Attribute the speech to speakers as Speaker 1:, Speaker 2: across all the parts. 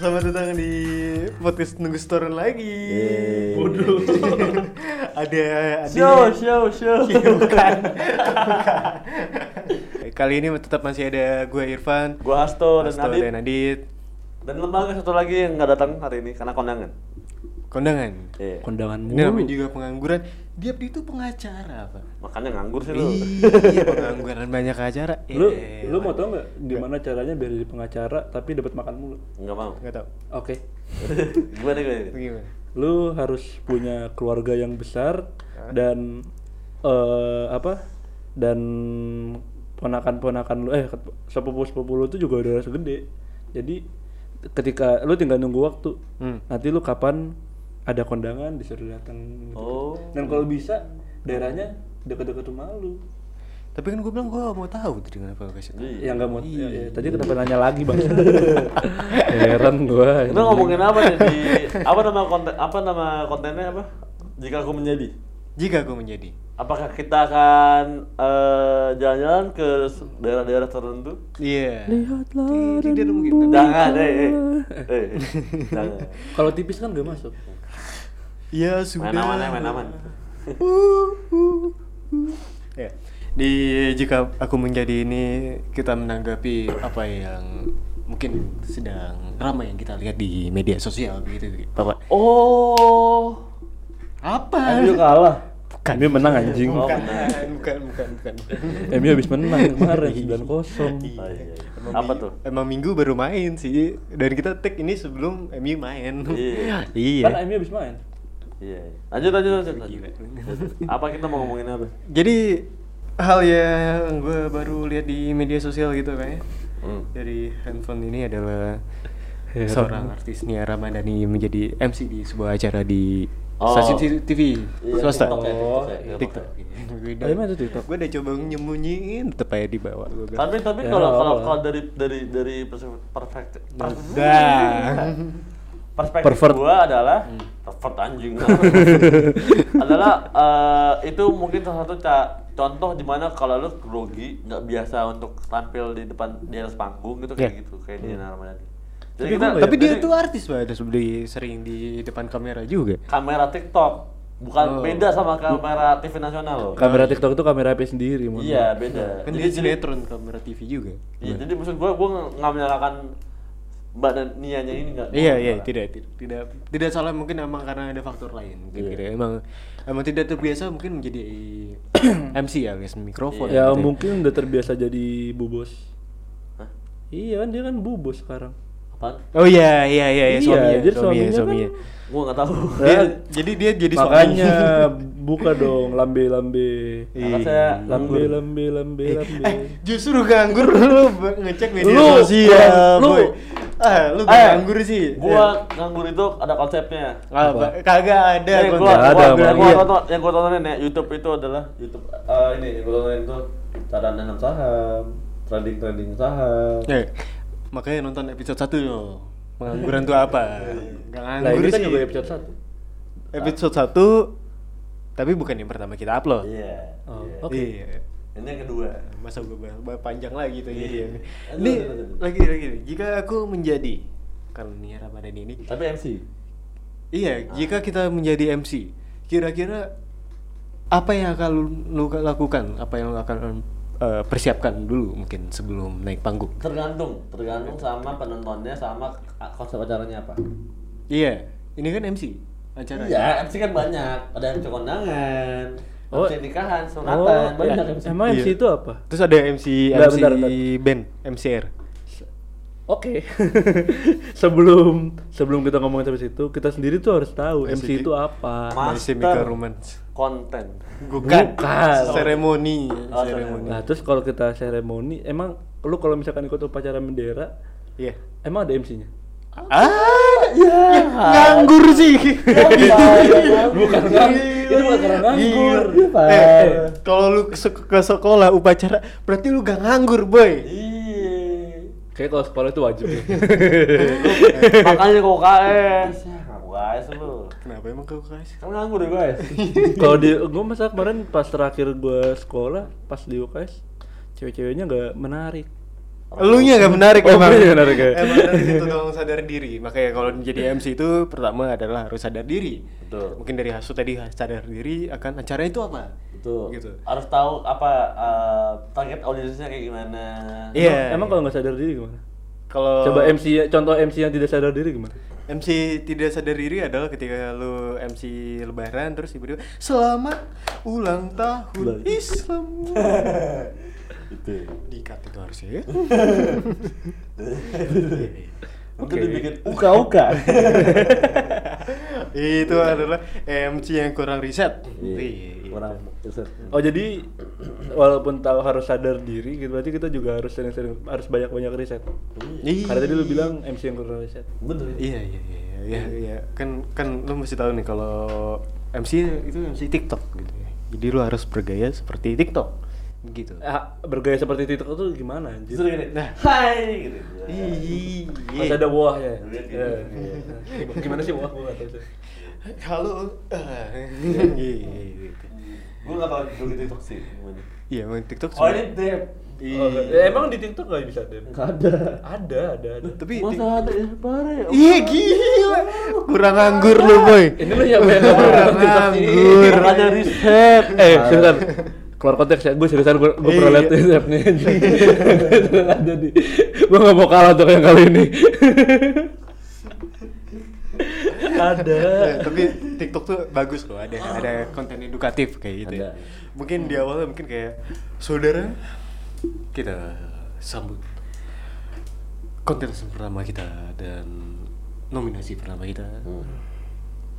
Speaker 1: Selamat datang di podcast Nunggu Setoran lagi.
Speaker 2: Yeay.
Speaker 3: Bodoh.
Speaker 1: ada ada.
Speaker 2: Show, show, show. Bukan.
Speaker 1: Eh, Kali ini tetap masih ada gue Irfan,
Speaker 2: Gua Hasto dan
Speaker 1: Asto,
Speaker 2: Adit.
Speaker 1: dan Adit.
Speaker 2: Dan lembaga satu lagi yang nggak datang hari ini karena kondangan.
Speaker 1: Kondangan.
Speaker 2: Iya.
Speaker 3: kondangan
Speaker 1: Ini namanya
Speaker 3: mulu
Speaker 1: juga pengangguran. Dia itu pengacara pak.
Speaker 2: Makanya nganggur sih lu.
Speaker 1: Iya pengangguran banyak acara.
Speaker 3: lu
Speaker 1: Eh,
Speaker 3: lu mau tau nggak gimana caranya biar jadi pengacara tapi dapat makan mulu
Speaker 2: Enggak mau.
Speaker 1: Nggak tahu.
Speaker 3: oke
Speaker 2: Gimana gimana?
Speaker 1: Itu Gimana?
Speaker 3: lu harus punya keluarga yang besar dan eh apa dan ponakan-ponakan lu eh sepupu-sepupu lu tuh juga udah harus gede jadi ketika lu tinggal nunggu waktu
Speaker 1: Hmm.
Speaker 3: nanti lu kapan ada kondangan disuruh datang gitu.
Speaker 2: Oh.
Speaker 3: dan kalau bisa daerahnya dekat-dekat rumah lu
Speaker 1: Tapi kan gue bilang gue mau tahu tadi kenapa gue kasih tahu.
Speaker 2: Iya.
Speaker 3: yang nggak mau ya, ya, tadi kenapa nanya lagi bang heran gua
Speaker 2: Lu ngomongin apa nih di apa nama konten apa nama kontennya apa? Jika aku menjadi
Speaker 1: Jika gue menjadi
Speaker 2: Apakah kita akan eh, jalan-jalan ke s- daerah-daerah tertentu?
Speaker 1: Iya. Lihatlah dan mungkin.
Speaker 2: Jangan, eh, eh. eh. eh. Jangan.
Speaker 3: kalau tipis kan gak masuk
Speaker 1: Ya
Speaker 2: Main
Speaker 1: sudah.
Speaker 2: aman, ya, main aman.
Speaker 1: Ya. Di jika aku menjadi ini kita menanggapi apa yang mungkin sedang ramai yang kita lihat di media sosial begitu Bapak.
Speaker 2: Oh.
Speaker 1: Apa?
Speaker 3: MU kalah
Speaker 1: Bukan.
Speaker 3: MU Kan menang anjing
Speaker 2: Oh.
Speaker 1: Bukan, bukan, bukan, bukan. Iya.
Speaker 3: MU habis menang
Speaker 2: Oh,
Speaker 3: kemarin 9-0
Speaker 2: iya, iya.
Speaker 1: Emang
Speaker 2: Apa
Speaker 1: minggu-
Speaker 2: tuh?
Speaker 1: Emang minggu baru main sih dan kita tag ini sebelum MU main.
Speaker 2: Iya.
Speaker 1: iya.
Speaker 3: kan MU habis main
Speaker 2: Iya. iya. Lanjut lanjut lanjut. lanjut. Apa kita mau ngomongin apa?
Speaker 1: Jadi hal yang gue baru lihat di media sosial gitu kayaknya
Speaker 2: Hmm.
Speaker 1: dari handphone ini adalah
Speaker 3: Heran.
Speaker 1: seorang artis Nia Ramadhani menjadi MC di sebuah acara di
Speaker 2: Oh.
Speaker 1: stasiun TV
Speaker 2: Iya,
Speaker 1: swasta.
Speaker 2: TikTok ya, TikTok ya, TikTok.
Speaker 1: TikTok.
Speaker 3: Oh, emang ada TikTok?
Speaker 1: Gue udah coba nyembunyiin tetep aja dibawa gue.
Speaker 2: Tapi tapi
Speaker 3: Ya,
Speaker 2: kalau kalau
Speaker 3: apa?
Speaker 2: kalau dari dari dari perspektif perspektif
Speaker 1: Dah.
Speaker 2: perspektif
Speaker 3: Pervert.
Speaker 2: gua adalah
Speaker 1: Hmm.
Speaker 2: pervert anjing adalah eh, itu mungkin salah satu ca- contoh dimana kalau lu grogi nggak biasa untuk tampil di depan di atas panggung gitu kayak
Speaker 1: Iya.
Speaker 2: gitu kayak di Ramadhani. Jadi
Speaker 1: Tapi,
Speaker 2: kita,
Speaker 1: gua- tapi dia
Speaker 2: jadi
Speaker 1: tuh artis banget, sebeli sering di depan kamera juga.
Speaker 2: kamera TikTok bukan
Speaker 1: Oh.
Speaker 2: beda sama kamera TV nasional loh.
Speaker 3: kamera TikTok itu kamera HP sendiri mohon
Speaker 2: Iya
Speaker 3: maaf.
Speaker 2: beda.
Speaker 1: Kan
Speaker 2: Jadi-
Speaker 1: dia
Speaker 2: jadi-
Speaker 1: sinetron kamera TV juga.
Speaker 2: Iya, jadi maksud gue, gue nggak menyalahkan Mbak dan Nianya ini nggak.
Speaker 1: Iya iya tidak tidak tidak tidak salah mungkin emang karena ada faktor lain mungkin
Speaker 3: Iya.
Speaker 1: gitu ya. emang emang tidak terbiasa mungkin menjadi MC ya guys mikrofon
Speaker 3: ya
Speaker 1: gitu
Speaker 3: mungkin udah terbiasa jadi bubos
Speaker 2: Hah?
Speaker 3: iya kan dia kan bubos sekarang
Speaker 2: Apaan?
Speaker 1: oh iya iya iya, iya
Speaker 3: Iya,
Speaker 1: suaminya,
Speaker 3: jadi
Speaker 1: suaminya
Speaker 3: suaminya
Speaker 1: suaminya
Speaker 2: Gue nggak tahu.
Speaker 1: Dia-
Speaker 3: Eh.
Speaker 1: jadi dia jadi suaminya
Speaker 3: makanya buka dong lambe lambe
Speaker 2: Karena saya
Speaker 3: lambe
Speaker 2: nganggur.
Speaker 3: lambe lambe lambe
Speaker 1: eh justru nganggur lu b- ngecek media
Speaker 3: Lu,
Speaker 1: sosial
Speaker 3: lu.
Speaker 1: boy ah lu gak
Speaker 2: Eh,
Speaker 1: nganggur sih
Speaker 2: Gue nganggur itu ada konsepnya.
Speaker 1: Ah, ba- kagak ada
Speaker 2: Nih,
Speaker 1: konten.
Speaker 2: Eh, gua,
Speaker 3: Iya,
Speaker 2: gua,
Speaker 3: nggak ada,
Speaker 2: gua-
Speaker 3: Bang.
Speaker 2: gua
Speaker 3: Iya.
Speaker 2: tonton- yang gue tontonin ya YouTube itu adalah YouTube eh, ini yang gue tontonin itu cara nanam saham, trading trading saham.
Speaker 1: Eh, makanya nonton episode 1 yo pengangguran tuh apa gak
Speaker 3: nah
Speaker 1: nganggur
Speaker 3: ini kan
Speaker 1: sih
Speaker 3: juga episode satu
Speaker 1: episode 1 tapi bukan yang pertama kita upload.
Speaker 2: Iya.
Speaker 3: Oh,
Speaker 2: iya.
Speaker 3: oke.
Speaker 1: Iya.
Speaker 2: Ini yang kedua.
Speaker 1: Masa gue bahas, bahas panjang lagi tuh
Speaker 2: Iya.
Speaker 1: jadi.
Speaker 2: Aduh,
Speaker 1: Ini
Speaker 2: aduh, aduh.
Speaker 1: lagi lagi jika aku menjadi kalau Nia Ramadan ini
Speaker 2: Tapi MC. Ah.
Speaker 1: iya, jika kita menjadi MC, kira-kira apa yang akan lu, lu lakukan? Apa yang lu akan eh, persiapkan dulu mungkin sebelum naik panggung?
Speaker 2: Tergantung, tergantung sama penontonnya sama konsep acaranya apa.
Speaker 1: Iya, ini kan MC acara.
Speaker 2: Iya, MC kan banyak. Ada MC kondangan,
Speaker 3: Oh.
Speaker 2: MC nikahan, sunatan, banyak MC.
Speaker 3: emang MC
Speaker 1: Iya.
Speaker 3: itu apa
Speaker 1: Terus ada MC
Speaker 3: Bentar,
Speaker 1: MC
Speaker 3: bentar, bentar.
Speaker 1: band, MCR.
Speaker 3: Oke. sebelum sebelum kita ngomongin sampai situ, kita sendiri tuh harus tahu MC,
Speaker 1: MCD.
Speaker 3: itu apa.
Speaker 1: My
Speaker 2: Ma- Master.
Speaker 1: Chemical Romance.
Speaker 2: Konten.
Speaker 1: Bukan.
Speaker 3: Bukan.
Speaker 1: Seremoni,
Speaker 2: Oh,
Speaker 1: seremoni.
Speaker 3: Nah, terus kalau kita seremoni, emang lu kalau misalkan ikut upacara bendera,
Speaker 1: Iya.
Speaker 3: emang ada MC-nya?
Speaker 1: Ah,
Speaker 2: Ya,
Speaker 1: nganggur sih.
Speaker 3: bukan
Speaker 1: Iya,
Speaker 3: kan? Itu bukan karena nganggur.
Speaker 1: Eh, eh, kalau lu ke, sek- ke sekolah upacara, berarti lu gak nganggur, boy.
Speaker 2: Iya.
Speaker 3: Kayak kalau sekolah itu wajib ya.
Speaker 2: Makanya kok KS. Ya, ngaku KS lu.
Speaker 1: Kenapa emang kau guys?
Speaker 2: Kan nganggur ya guys.
Speaker 3: kalau di gua masa kemarin pas terakhir gua sekolah, pas di UKS, cewek-ceweknya nggak menarik.
Speaker 1: Elunya gak menarik
Speaker 3: Oh,
Speaker 1: emang.
Speaker 3: gue yang menarik ya.
Speaker 1: Emang dari situ tolong sadar diri. Makanya kalau menjadi MC itu pertama adalah harus sadar diri.
Speaker 2: Betul.
Speaker 1: Mungkin dari Hasu tadi sadar diri akan acara itu apa.
Speaker 2: Betul.
Speaker 1: Gitu.
Speaker 2: Harus tahu apa eh, target audiensnya kayak gimana.
Speaker 1: Iya.
Speaker 3: Emang kalau nggak sadar diri gimana?
Speaker 1: Kalau
Speaker 3: Coba MC ya- contoh MC yang tidak sadar diri gimana?
Speaker 1: MC tidak sadar diri adalah ketika lu MC lebaran terus tiba-tiba selamat ulang tahun
Speaker 3: Balik.
Speaker 1: Islam.
Speaker 2: Itu.
Speaker 1: Dikat itu harusnya ya.
Speaker 3: Iya.
Speaker 2: Mungkin
Speaker 1: Iya, Oke. iya.
Speaker 2: dibikin uka-uka.
Speaker 1: itu adalah MC yang kurang riset.
Speaker 3: Iya,
Speaker 1: Wih, gitu.
Speaker 2: Orang
Speaker 3: Oh jadi walaupun tahu harus sadar diri gitu berarti kita juga harus sering-sering harus banyak-banyak riset.
Speaker 1: Iya.
Speaker 3: Karena tadi lu bilang MC yang kurang riset.
Speaker 2: Bener.
Speaker 1: Iya iya iya iya iya kan kan lu mesti tahu nih kalau MC itu MC TikTok gitu ya. Jadi lu harus bergaya seperti TikTok Gitu. begitu.
Speaker 3: Ah, bergaya seperti TikTok tuh gimana anjir?
Speaker 2: Justru gini.
Speaker 1: Nah.
Speaker 2: Hai gitu.
Speaker 1: Iya.
Speaker 3: Masih Iya. ada buahnya.
Speaker 2: Iya.
Speaker 3: Iya. Gimana sih buah? Gua nggak tahu sih.
Speaker 1: Halo. Iya,
Speaker 2: Gue gak tau dulu gitu sih. gimana.
Speaker 1: Iya, main TikTok.
Speaker 2: Oh
Speaker 1: sebenarnya-
Speaker 2: ini Dep.
Speaker 3: Oh, nggak- eh, emang di TikTok nggak bisa deh?
Speaker 2: Gak ada.
Speaker 3: Ada, ada, ada.
Speaker 1: tapi
Speaker 2: Masa ada ya? Parah ya.
Speaker 1: Iya gila. Kurang anggur lu, Boy.
Speaker 3: Ini lu yang main
Speaker 1: Kurang anggur.
Speaker 2: Kurang ada
Speaker 3: riset. Eh, sebentar. Keluar konteks ya, gue seriusan gue gue pernah
Speaker 1: Iya.
Speaker 3: liat riset nih anjing. Beneran ada nih. Gue gak mau kalah tuh yang kali ini. ada.
Speaker 1: Ya, tapi TikTok tuh bagus loh, ada ada konten edukatif kayak gitu. Ya.
Speaker 3: Ada.
Speaker 1: Mungkin di awalnya mungkin kayak saudara kita sambut kontes pertama kita dan nominasi pertama kita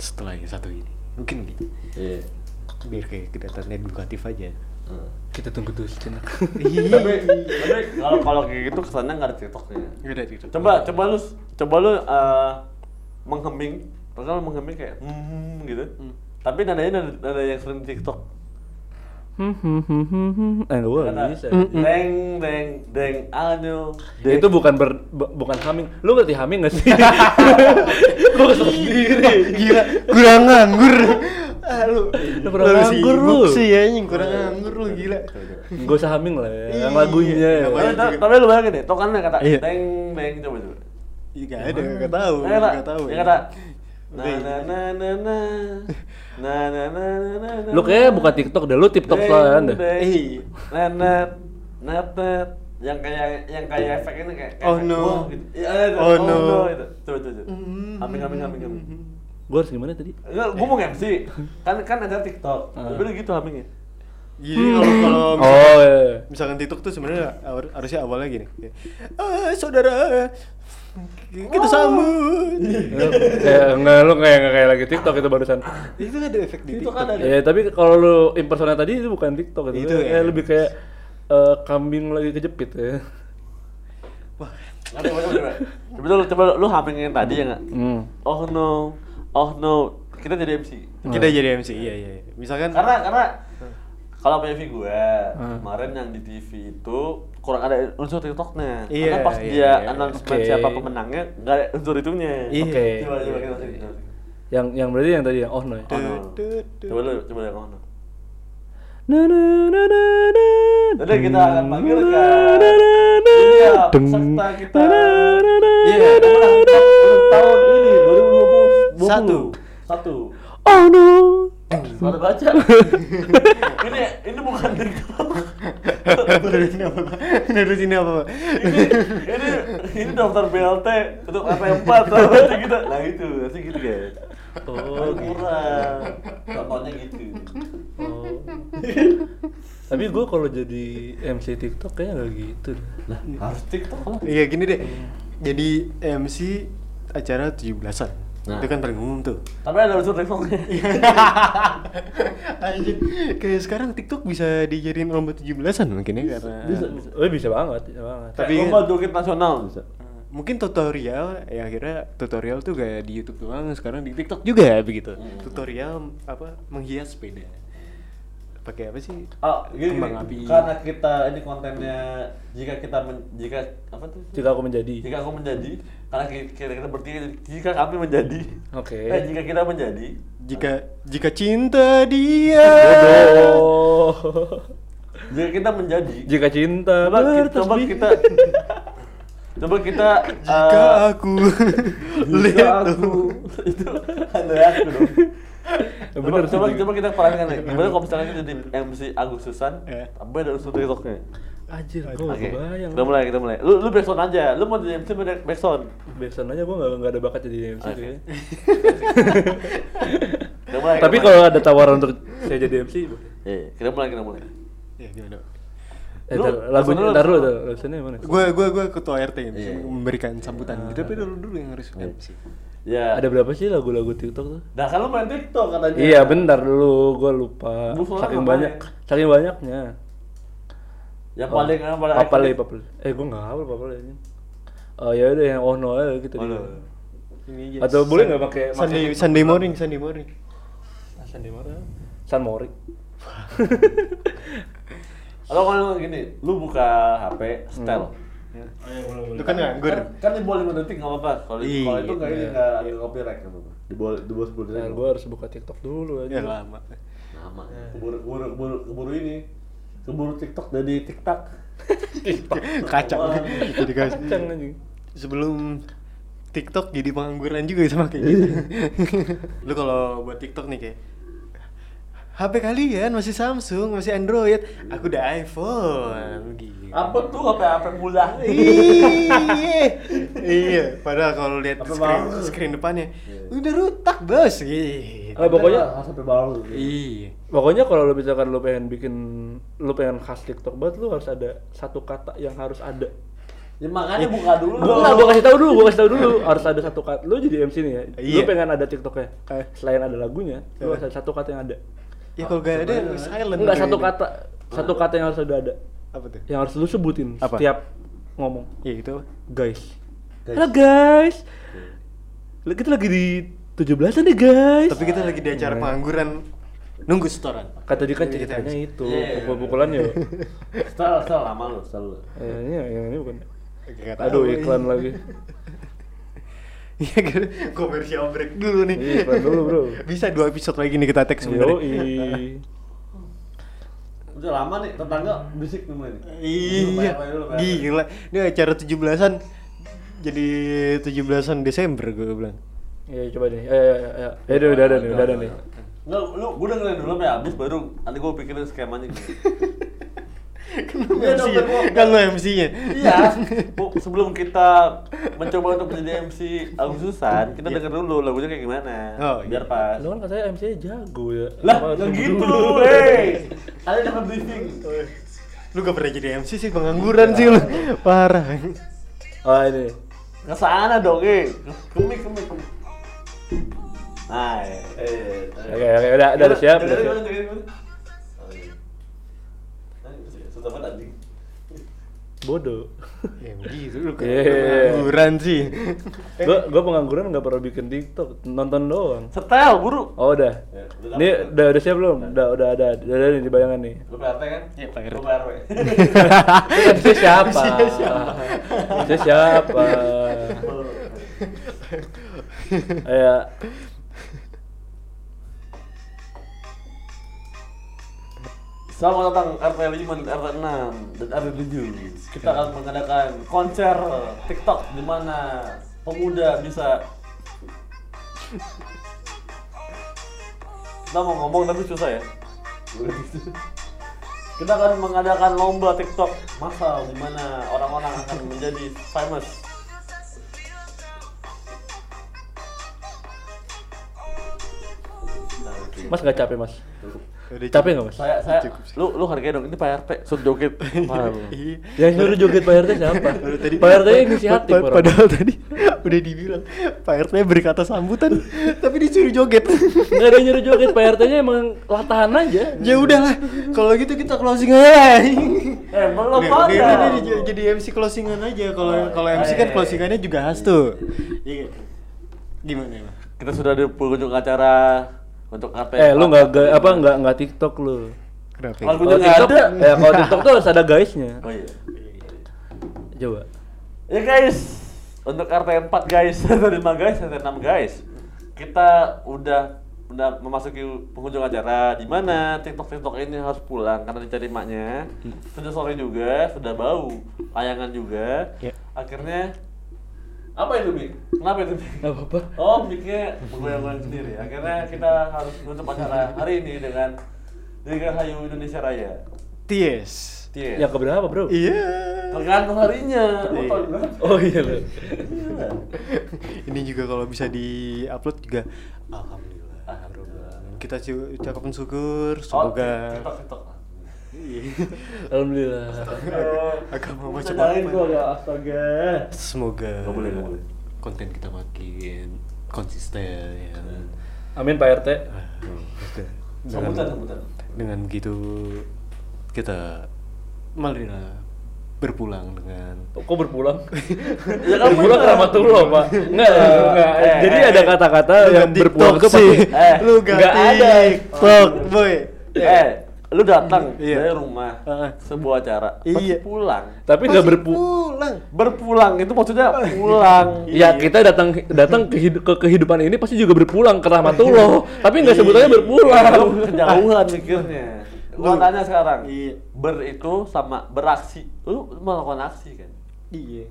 Speaker 1: setelah yang satu ini. Mungkin gitu.
Speaker 2: Iya.
Speaker 1: Biar kayak kegiatan edukatif aja.
Speaker 3: Kita tunggu dulu sejenak.
Speaker 2: Tapi tapi kalau kalau kayak gitu kesannya nggak ada TikToknya.
Speaker 1: Gak ada TikTok.
Speaker 2: Coba coba lu coba lu eh, mengheming, padahal mengheming kayak hmm gitu. Tapi nadanya nada, nada yang sering di TikTok.
Speaker 3: Hmm, hmm, hmm, hmm, hmm. Eh, gue
Speaker 2: Karena
Speaker 3: gak bisa.
Speaker 2: deng deng deng anu. deng.
Speaker 3: Itu bukan ber, bu- bukan haming. Lu ngerti haming gak sih? Gue kesel sendiri.
Speaker 1: Gila, kurang anggur. Ah, lu,
Speaker 3: Lu kurang nganggur, lu.
Speaker 1: sibuk sih ya, anjing, kurang anggur lu gila.
Speaker 3: Gak usah haming lah ya, yang
Speaker 1: Iya,
Speaker 3: lagunya ya.
Speaker 1: yang lagunya.
Speaker 2: Tapi tapi lu bayangin deh, tokannya kata
Speaker 1: Iya.
Speaker 2: deng deng coba coba.
Speaker 1: Iya, gak ada, gak tahu,
Speaker 2: Yang kata,
Speaker 1: gak tahu. ya.
Speaker 2: yang kata na
Speaker 1: Deng.
Speaker 2: na na na na na na na na na na
Speaker 3: Lu kayaknya bukan TikTok deh, lu TikTok soalnya deh.
Speaker 1: Iya.
Speaker 2: Nenet, nenet, yang kayak yang kayak efek ini kayak, kayak
Speaker 1: Oh,
Speaker 2: efek
Speaker 1: no.
Speaker 2: buah gitu. Iya, ada tuh,
Speaker 1: Oh, no.
Speaker 2: itu. Coba coba. coba. Amin amin amin amin.
Speaker 3: Gue harus gimana tadi?
Speaker 2: Enggak, gua mau MC. Kan kan ada TikTok. Tapi gitu hamingnya.
Speaker 1: Jadi kalau kalau
Speaker 3: Oh, iya. iya.
Speaker 1: misalkan TikTok tuh sebenarnya awal- harusnya awalnya gini. kayak, Ah, saudara kita sambut.
Speaker 3: Iya. Kayak enggak lu kayak enggak kayak lagi TikTok itu barusan.
Speaker 1: Itu kan ada efek di
Speaker 2: TikTok
Speaker 1: TikTok.
Speaker 2: kan ada.
Speaker 3: Ya, tapi kalau lu impersonate tadi itu bukan TikTok itu.
Speaker 1: Itu
Speaker 3: kayak
Speaker 1: ya.
Speaker 3: lebih kayak eh, kambing lagi kejepit ya.
Speaker 1: Wah,
Speaker 2: Coba coba coba. Coba dulu, coba lu hamingin tadi ya enggak?
Speaker 3: Hmm.
Speaker 2: Oh no. Oh no. Kita jadi MC.
Speaker 1: kita
Speaker 3: Hmm.
Speaker 1: jadi MC. Iya, iya. iya. Misalkan
Speaker 2: Karena karena kalau PV gue
Speaker 1: Hmm.
Speaker 2: kemarin yang di TV itu kurang ada unsur TikToknya.
Speaker 1: Iya,
Speaker 2: Karena pas
Speaker 1: iya,
Speaker 2: dia
Speaker 1: iya.
Speaker 2: announcement
Speaker 3: Oke.
Speaker 2: siapa pemenangnya nggak ada unsur itunya.
Speaker 1: Iya.
Speaker 3: Oke.
Speaker 2: Coba coba kita sini.
Speaker 3: Yang yang berarti yang tadi yang oh no. ya?
Speaker 2: Oh, no.
Speaker 1: Tut, tut,
Speaker 2: Coba lu coba yang mana?
Speaker 3: Na na na na na.
Speaker 2: Jadi kita akan panggilkan
Speaker 3: na,
Speaker 2: Iya,
Speaker 3: deng.
Speaker 2: peserta kita.
Speaker 3: Na, na, na,
Speaker 2: Iya,
Speaker 1: na,
Speaker 2: pemenang tahun- tahun ini 2020.
Speaker 1: Satu.
Speaker 2: Satu.
Speaker 3: Oh no.
Speaker 2: Baru baca. ini ini bukan TikTok.
Speaker 1: Nerusin apa? Pak? Nerusin apa? Pak?
Speaker 2: ini ini ini daftar BLT untuk apa yang empat nanti kita nah itu nanti gitu guys
Speaker 3: Oh,
Speaker 2: oh kurang contohnya gitu
Speaker 3: Oh. Tapi gue kalau jadi MC TikTok kayaknya nggak gitu. deh.
Speaker 2: lah harus TikTok lah
Speaker 1: Iya gini deh. Jadi MC acara 17-an.
Speaker 2: Nah.
Speaker 1: Itu kan paling umum tuh.
Speaker 2: tapi ada unsur TikToknya
Speaker 3: Iya.
Speaker 1: Anjir, kayak sekarang TikTok bisa dijadiin lomba 17-an mungkin ya karena
Speaker 3: Bisa, bisa. Oh, bisa banget, bisa banget.
Speaker 1: Tapi-
Speaker 2: tapi lomba joget nasional bisa
Speaker 1: mungkin tutorial ya akhirnya tutorial tuh gak di YouTube doang sekarang di TikTok juga begitu. Tutorial apa menghias sepeda. Pakai apa sih?
Speaker 2: Oh, gini,
Speaker 1: Kembang api.
Speaker 2: gini. karena kita ini kontennya jika kita men, jika apa tuh
Speaker 3: Jika aku menjadi.
Speaker 2: jika aku menjadi karena ki- kita, kita bertiga jadi, jika kami menjadi
Speaker 3: Oke.
Speaker 2: eh jika kita menjadi
Speaker 1: Jika jika cinta dia.
Speaker 3: Jodoh.
Speaker 2: jika kita menjadi
Speaker 3: Oh. Jika cinta
Speaker 2: coba, kita- coba
Speaker 3: bertasbih.
Speaker 2: kita Coba kita
Speaker 1: Jika
Speaker 2: eh,
Speaker 1: aku
Speaker 2: Jika
Speaker 1: lihat
Speaker 2: aku
Speaker 1: tuh.
Speaker 2: itu Andrea aku dong. coba,
Speaker 3: Bener Ya sih,
Speaker 2: coba,
Speaker 3: Ji.
Speaker 2: coba kita perhatikan nih. Gimana kalau misalnya kita jadi MC Agus Susan,
Speaker 1: Iya.
Speaker 2: tapi ada unsur TikToknya.
Speaker 3: Anjir, gue
Speaker 2: Oke.
Speaker 3: nggak Ya. Oh, kebayang.
Speaker 2: Kita mulai, kita mulai. Lu lu backsound aja. Lu mau jadi MC mau jadi backsound.
Speaker 3: Biasanya gue nggak nggak ada bakat jadi MC.
Speaker 2: Oke.
Speaker 3: kayaknya.
Speaker 2: Kita mulai.
Speaker 3: Tapi
Speaker 2: kita mulai.
Speaker 3: kalau ada tawaran untuk saya jadi eh, MC, boleh.
Speaker 2: Iya, kita mulai, kita mulai.
Speaker 1: Ya gimana?
Speaker 3: eh,
Speaker 2: Lu,
Speaker 3: tar, lagunya,
Speaker 2: langsung
Speaker 3: tar dulu,
Speaker 2: dulu.
Speaker 3: tar, lagunya mana? sih?
Speaker 1: Gue gue gue ketua RT yang bisa
Speaker 2: Iya. Ah.
Speaker 1: memberikan sambutan. gitu tapi dulu dulu yang harus MC.
Speaker 2: Ya.
Speaker 3: Ada berapa sih lagu-lagu TikTok tuh?
Speaker 2: Nah, kan lu main TikTok katanya.
Speaker 3: Iya, bentar dulu, gue lupa.
Speaker 2: Lu soalnya
Speaker 3: Saking
Speaker 2: ngapain?
Speaker 3: banyak, saking banyaknya.
Speaker 2: Yang paling
Speaker 3: Oh.
Speaker 2: yang paling
Speaker 3: papale,
Speaker 2: ikonik.
Speaker 3: papale. Eh, gue nggak hafal papale ini. Oh ya udah yang oh no aja gitu.
Speaker 2: Oh, no.
Speaker 1: Ini aja.
Speaker 3: Atau boleh nggak pakai
Speaker 1: Sunday Sunday morning, Sunday morning.
Speaker 3: San Demora? San Mori.
Speaker 2: Atau kalau gini, lu buka HP style.
Speaker 3: Hmm.
Speaker 1: Itu kan nganggur.
Speaker 2: Kan, kan di bawah 5 detik nggak apa-apa. Kalau di- kalau
Speaker 1: Iya.
Speaker 2: itu nggak ini nggak ada copyright kan. Di bawah di bawah 10 detik.
Speaker 3: Nah, gue harus buka TikTok dulu
Speaker 1: Ya
Speaker 3: aja.
Speaker 1: lama.
Speaker 2: Lama. Iya. Keburu keburu keburu keburu ini. Keburu TikTok jadi TikTok.
Speaker 1: Kacang. Jadi
Speaker 3: Kencang
Speaker 1: kacang.
Speaker 3: anjing.
Speaker 1: Sebelum TikTok jadi pengangguran juga sama kayak gitu. Lu kalau buat TikTok nih kayak HP kalian masih Samsung, masih Android, aku udah iPhone. Gitu.
Speaker 2: Apa tuh HP HP mula?
Speaker 1: iya iya padahal kalau lihat
Speaker 2: Apa
Speaker 1: screen,
Speaker 2: baru?
Speaker 1: screen depannya
Speaker 2: Iya.
Speaker 1: udah rutak bos gitu
Speaker 3: Ah, pokoknya-
Speaker 2: harus HP baru.
Speaker 1: iya
Speaker 3: Pokoknya kalau lo misalkan lo pengen bikin lo pengen khas TikTok banget lo harus ada satu kata yang harus ada.
Speaker 2: Ya makanya
Speaker 1: Iya.
Speaker 2: buka dulu.
Speaker 3: Gua enggak gua kasih tahu dulu, gua kasih tahu dulu harus ada satu kata. Lo jadi MC nih ya. Lo
Speaker 1: Iya.
Speaker 3: pengen ada TikToknya.
Speaker 1: Eh.
Speaker 3: Selain ada lagunya, lo
Speaker 1: Eh.
Speaker 3: harus ada satu kata yang ada.
Speaker 1: ya kalau gak ada silent udah
Speaker 3: Enggak satu
Speaker 1: ini.
Speaker 3: kata, satu kata yang harus ada ada.
Speaker 1: apa tuh
Speaker 3: Yang harus lo sebutin
Speaker 1: Apa?
Speaker 3: setiap ngomong.
Speaker 1: ya itu
Speaker 3: Guys.
Speaker 2: Guys.
Speaker 3: Halo guys. Kita lagi di 17-an nih guys.
Speaker 1: tapi kita lagi di acara pengangguran nunggu setoran
Speaker 3: Iya. Kata tadi kan
Speaker 1: Jadi kita
Speaker 3: ceritanya
Speaker 1: MC.
Speaker 3: itu,
Speaker 2: Iya.
Speaker 3: pukul-pukulan ya.
Speaker 2: Style style lama lu, style lu.
Speaker 3: Eh, ini yang ini bukan.
Speaker 1: Gak tahu
Speaker 3: Aduh,
Speaker 1: nih.
Speaker 3: iklan lagi.
Speaker 1: Iya kan, komersial break dulu nih.
Speaker 3: Iya, iklan dulu, bro.
Speaker 1: Bisa dua episode lagi nih kita tag sebenarnya.
Speaker 3: Yoi.
Speaker 2: Udah lama nih tetangga bisik nemuin.
Speaker 1: Iya, gila. Ini acara 17-an jadi 17-an Desember gue bilang.
Speaker 3: Ya coba nih. Eh, ya, ya. Eh, udah, udah ada nih, udah ada nih.
Speaker 2: Nggak, lu gue dengerin dulu sampai habis baru nanti gue pikirin skemanya gitu.
Speaker 1: Kenapa
Speaker 2: Iya,
Speaker 1: MC?
Speaker 2: dokter, gua-
Speaker 1: Kan lo MC-nya.
Speaker 2: Iya, Bu, sebelum kita mencoba untuk menjadi MC Agususan, kita denger dulu lagunya kayak gimana.
Speaker 1: Oh, iya.
Speaker 2: biar pas.
Speaker 3: Lu kan katanya MC -nya jago ya.
Speaker 2: Lah,
Speaker 3: Apa harus
Speaker 2: nggak
Speaker 3: nunggu
Speaker 2: gitu,
Speaker 3: dulu?
Speaker 2: hei. Kalian dapat briefing.
Speaker 1: Lu gak pernah jadi MC sih, pengangguran sih lu. Parah.
Speaker 3: Ah, ini.
Speaker 2: Ke sana dong, eh. Kemik, kemik, kemik. Nah, eh, eh.
Speaker 3: Oke, oke, udah, udah, udah siap, udah siap.
Speaker 2: Susah banget anjing.
Speaker 3: Bodoh.
Speaker 1: Ya gitu, lu kan
Speaker 3: Iya.
Speaker 1: pengangguran sih.
Speaker 3: Gua gua pengangguran nggak pernah bikin TikTok, nonton doang.
Speaker 2: Setel, buru.
Speaker 3: Oh, udah.
Speaker 2: Ya, udah
Speaker 3: Ini
Speaker 2: dapet.
Speaker 3: udah, udah siap belum? Udah, udah ada, udah ada nih di bayangan nih.
Speaker 2: Lu PRT kan?
Speaker 1: Iya, Pak RT.
Speaker 2: Lu PRW.
Speaker 3: Eh. MC siapa?
Speaker 1: MC siapa?
Speaker 3: MC siapa? Ya.
Speaker 2: Selamat datang RT 5, RT 6, dan RT 7 Kita akan mengadakan konser TikTok di mana pemuda bisa Kita mau ngomong tapi susah ya Kita akan mengadakan lomba TikTok massal di mana orang-orang akan menjadi famous Nah, gitu. oke.
Speaker 3: Mas nggak capek, Mas?
Speaker 1: Udah
Speaker 3: Capek nggak, Mas?
Speaker 2: saya saya
Speaker 1: Oh, Cukup sih.
Speaker 2: lu lu hargai dong ini Pak RT suruh joget
Speaker 3: Paham.
Speaker 1: Iya.
Speaker 3: Yang suruh joget Pak RT siapa?
Speaker 1: Baru tadi-
Speaker 3: Pak RT inisiatif
Speaker 1: pa-
Speaker 3: orang.
Speaker 1: Padahal tadi udah dibilang Pak RT berkata sambutan tapi disuruh joget.
Speaker 3: Nggak ada yang nyuruh joget, Pak RT-nya emang latahan aja.
Speaker 1: ya udahlah, kalau gitu kita closing aja.
Speaker 2: eh belum
Speaker 1: Udah,
Speaker 2: ada
Speaker 1: udah, udah, udah, jadi MC closingan aja kalau kalau MC kan
Speaker 2: eh.
Speaker 1: closingannya juga khas tuh. Iya. Gimana ya?
Speaker 2: kita sudah di pengunjung acara untuk RT
Speaker 3: Eh, lu nggak ga- apa nggak nggak TikTok lu?
Speaker 1: Kenapa? Oh,
Speaker 2: Kalau
Speaker 3: Kalau
Speaker 2: Udah nggak
Speaker 3: TikTok,
Speaker 2: ada.
Speaker 3: ya kalau TikTok tuh harus ada guysnya.
Speaker 2: oh iya
Speaker 3: Coba.
Speaker 2: ya guys untuk RT 4 guys RT 5 guys RT 6 guys kita udah udah memasuki penghujung acara di mana TikTok TikTok ini harus pulang karena dicari maknya sudah sore juga sudah bau layangan juga
Speaker 3: Ya.
Speaker 2: akhirnya apa itu bi kenapa itu bi
Speaker 3: Gak apa-apa.
Speaker 2: Oh, mikirnya goyang-goyang sendiri. Akhirnya kita harus menutup acara hari ini dengan Dirgahayu Indonesia Raya.
Speaker 1: Ties.
Speaker 2: Ties.
Speaker 3: Yang keberapa Ya, bro?
Speaker 1: Iya.
Speaker 2: Tergantung harinya. Iya. Lu tahun berapa?
Speaker 3: Oh iya lo.
Speaker 2: Gila.
Speaker 1: Ini juga kalau bisa di-upload juga alhamdulillah. Kita cu- ucapkan syukur semoga
Speaker 2: Oh, TikTok,
Speaker 1: Iya.
Speaker 3: Alhamdulillah.
Speaker 2: TikTok.
Speaker 1: agama
Speaker 2: Bisa
Speaker 1: macam
Speaker 2: jalanin
Speaker 1: apa?
Speaker 2: gua, ya.
Speaker 3: Astaga.
Speaker 1: semoga
Speaker 2: Nggak boleh, nggak boleh.
Speaker 1: konten kita makin konsisten ya.
Speaker 3: Amin Pak RT.
Speaker 1: Dengan-
Speaker 2: Sambutan, sambutan.
Speaker 1: dengan begitu kita marilah berpulang dengan
Speaker 3: Kok berpulang?
Speaker 2: Ya kan
Speaker 3: berpulang ke
Speaker 2: bener.
Speaker 3: Ramatullah, Pak. Enggak, enggak.
Speaker 2: Eh,
Speaker 3: Jadi
Speaker 2: eh,
Speaker 3: ada
Speaker 2: eh.
Speaker 3: kata-kata
Speaker 1: Lu
Speaker 3: yang
Speaker 1: nggak
Speaker 3: berpulang
Speaker 1: TikTok
Speaker 3: ke
Speaker 1: sih.
Speaker 2: Eh,
Speaker 1: lu gak,
Speaker 3: nggak ada.
Speaker 1: TikTok, boy.
Speaker 2: Eh, lu datang
Speaker 1: Iya.
Speaker 2: dari rumah
Speaker 1: Heeh.
Speaker 2: sebuah acara, pasti
Speaker 1: Iya.
Speaker 2: pulang.
Speaker 3: Tapi nggak
Speaker 1: Masih
Speaker 3: berpu
Speaker 1: pulang.
Speaker 2: Berpulang itu maksudnya pulang.
Speaker 3: Ya kita datang datang ke, hid- ke kehidupan ini pasti juga berpulang ke rahmatullah. Tapi nggak sebutannya
Speaker 2: Lu
Speaker 3: berpulang.
Speaker 2: kejauhan mikirnya. Gua
Speaker 1: Lu-
Speaker 2: tanya sekarang.
Speaker 1: Iya.
Speaker 2: Ber itu sama beraksi. Lu melakukan aksi kan?
Speaker 1: Iya.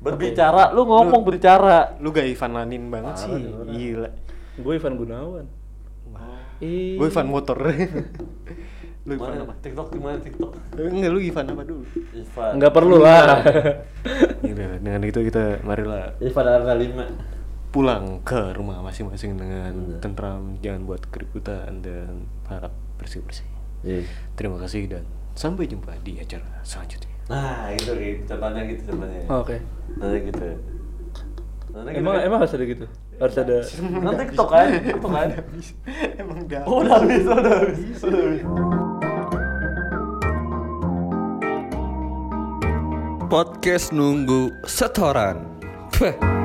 Speaker 2: Berbicara, lu ngomong berbicara.
Speaker 1: Lu gak Ivan Lanin banget
Speaker 2: Parah
Speaker 1: sih.
Speaker 2: nih orang.
Speaker 1: Gila.
Speaker 3: Gue Ivan Gunawan. Eh.
Speaker 1: Gue Ivan motor. lu Ivan
Speaker 2: Mana
Speaker 1: apa?
Speaker 2: TikTok gimana TikTok?
Speaker 1: Enggak, lu Ivan apa dulu?
Speaker 2: Ivan.
Speaker 3: Nggak perlu lah.
Speaker 1: Iya. Gila, Iya, dengan itu kita marilah
Speaker 2: Ivan Arna 5.
Speaker 1: pulang ke rumah masing-masing dengan tentram, jangan buat keributan dan harap bersih-bersih.
Speaker 2: Iya.
Speaker 1: Terima kasih dan sampai jumpa di acara selanjutnya.
Speaker 2: Nah, gitu gitu. Contohnya gitu contohnya.
Speaker 3: Oke.
Speaker 2: Nanti gitu. Nanti
Speaker 3: Emang
Speaker 2: gitu.
Speaker 3: emang harus ada gitu. Harus ada.
Speaker 2: nanti TikTok kan, TikTok kan.
Speaker 1: Emang dah.
Speaker 2: Oh, udah habis, udah habis, udah habis.
Speaker 4: Podcast nunggu setoran.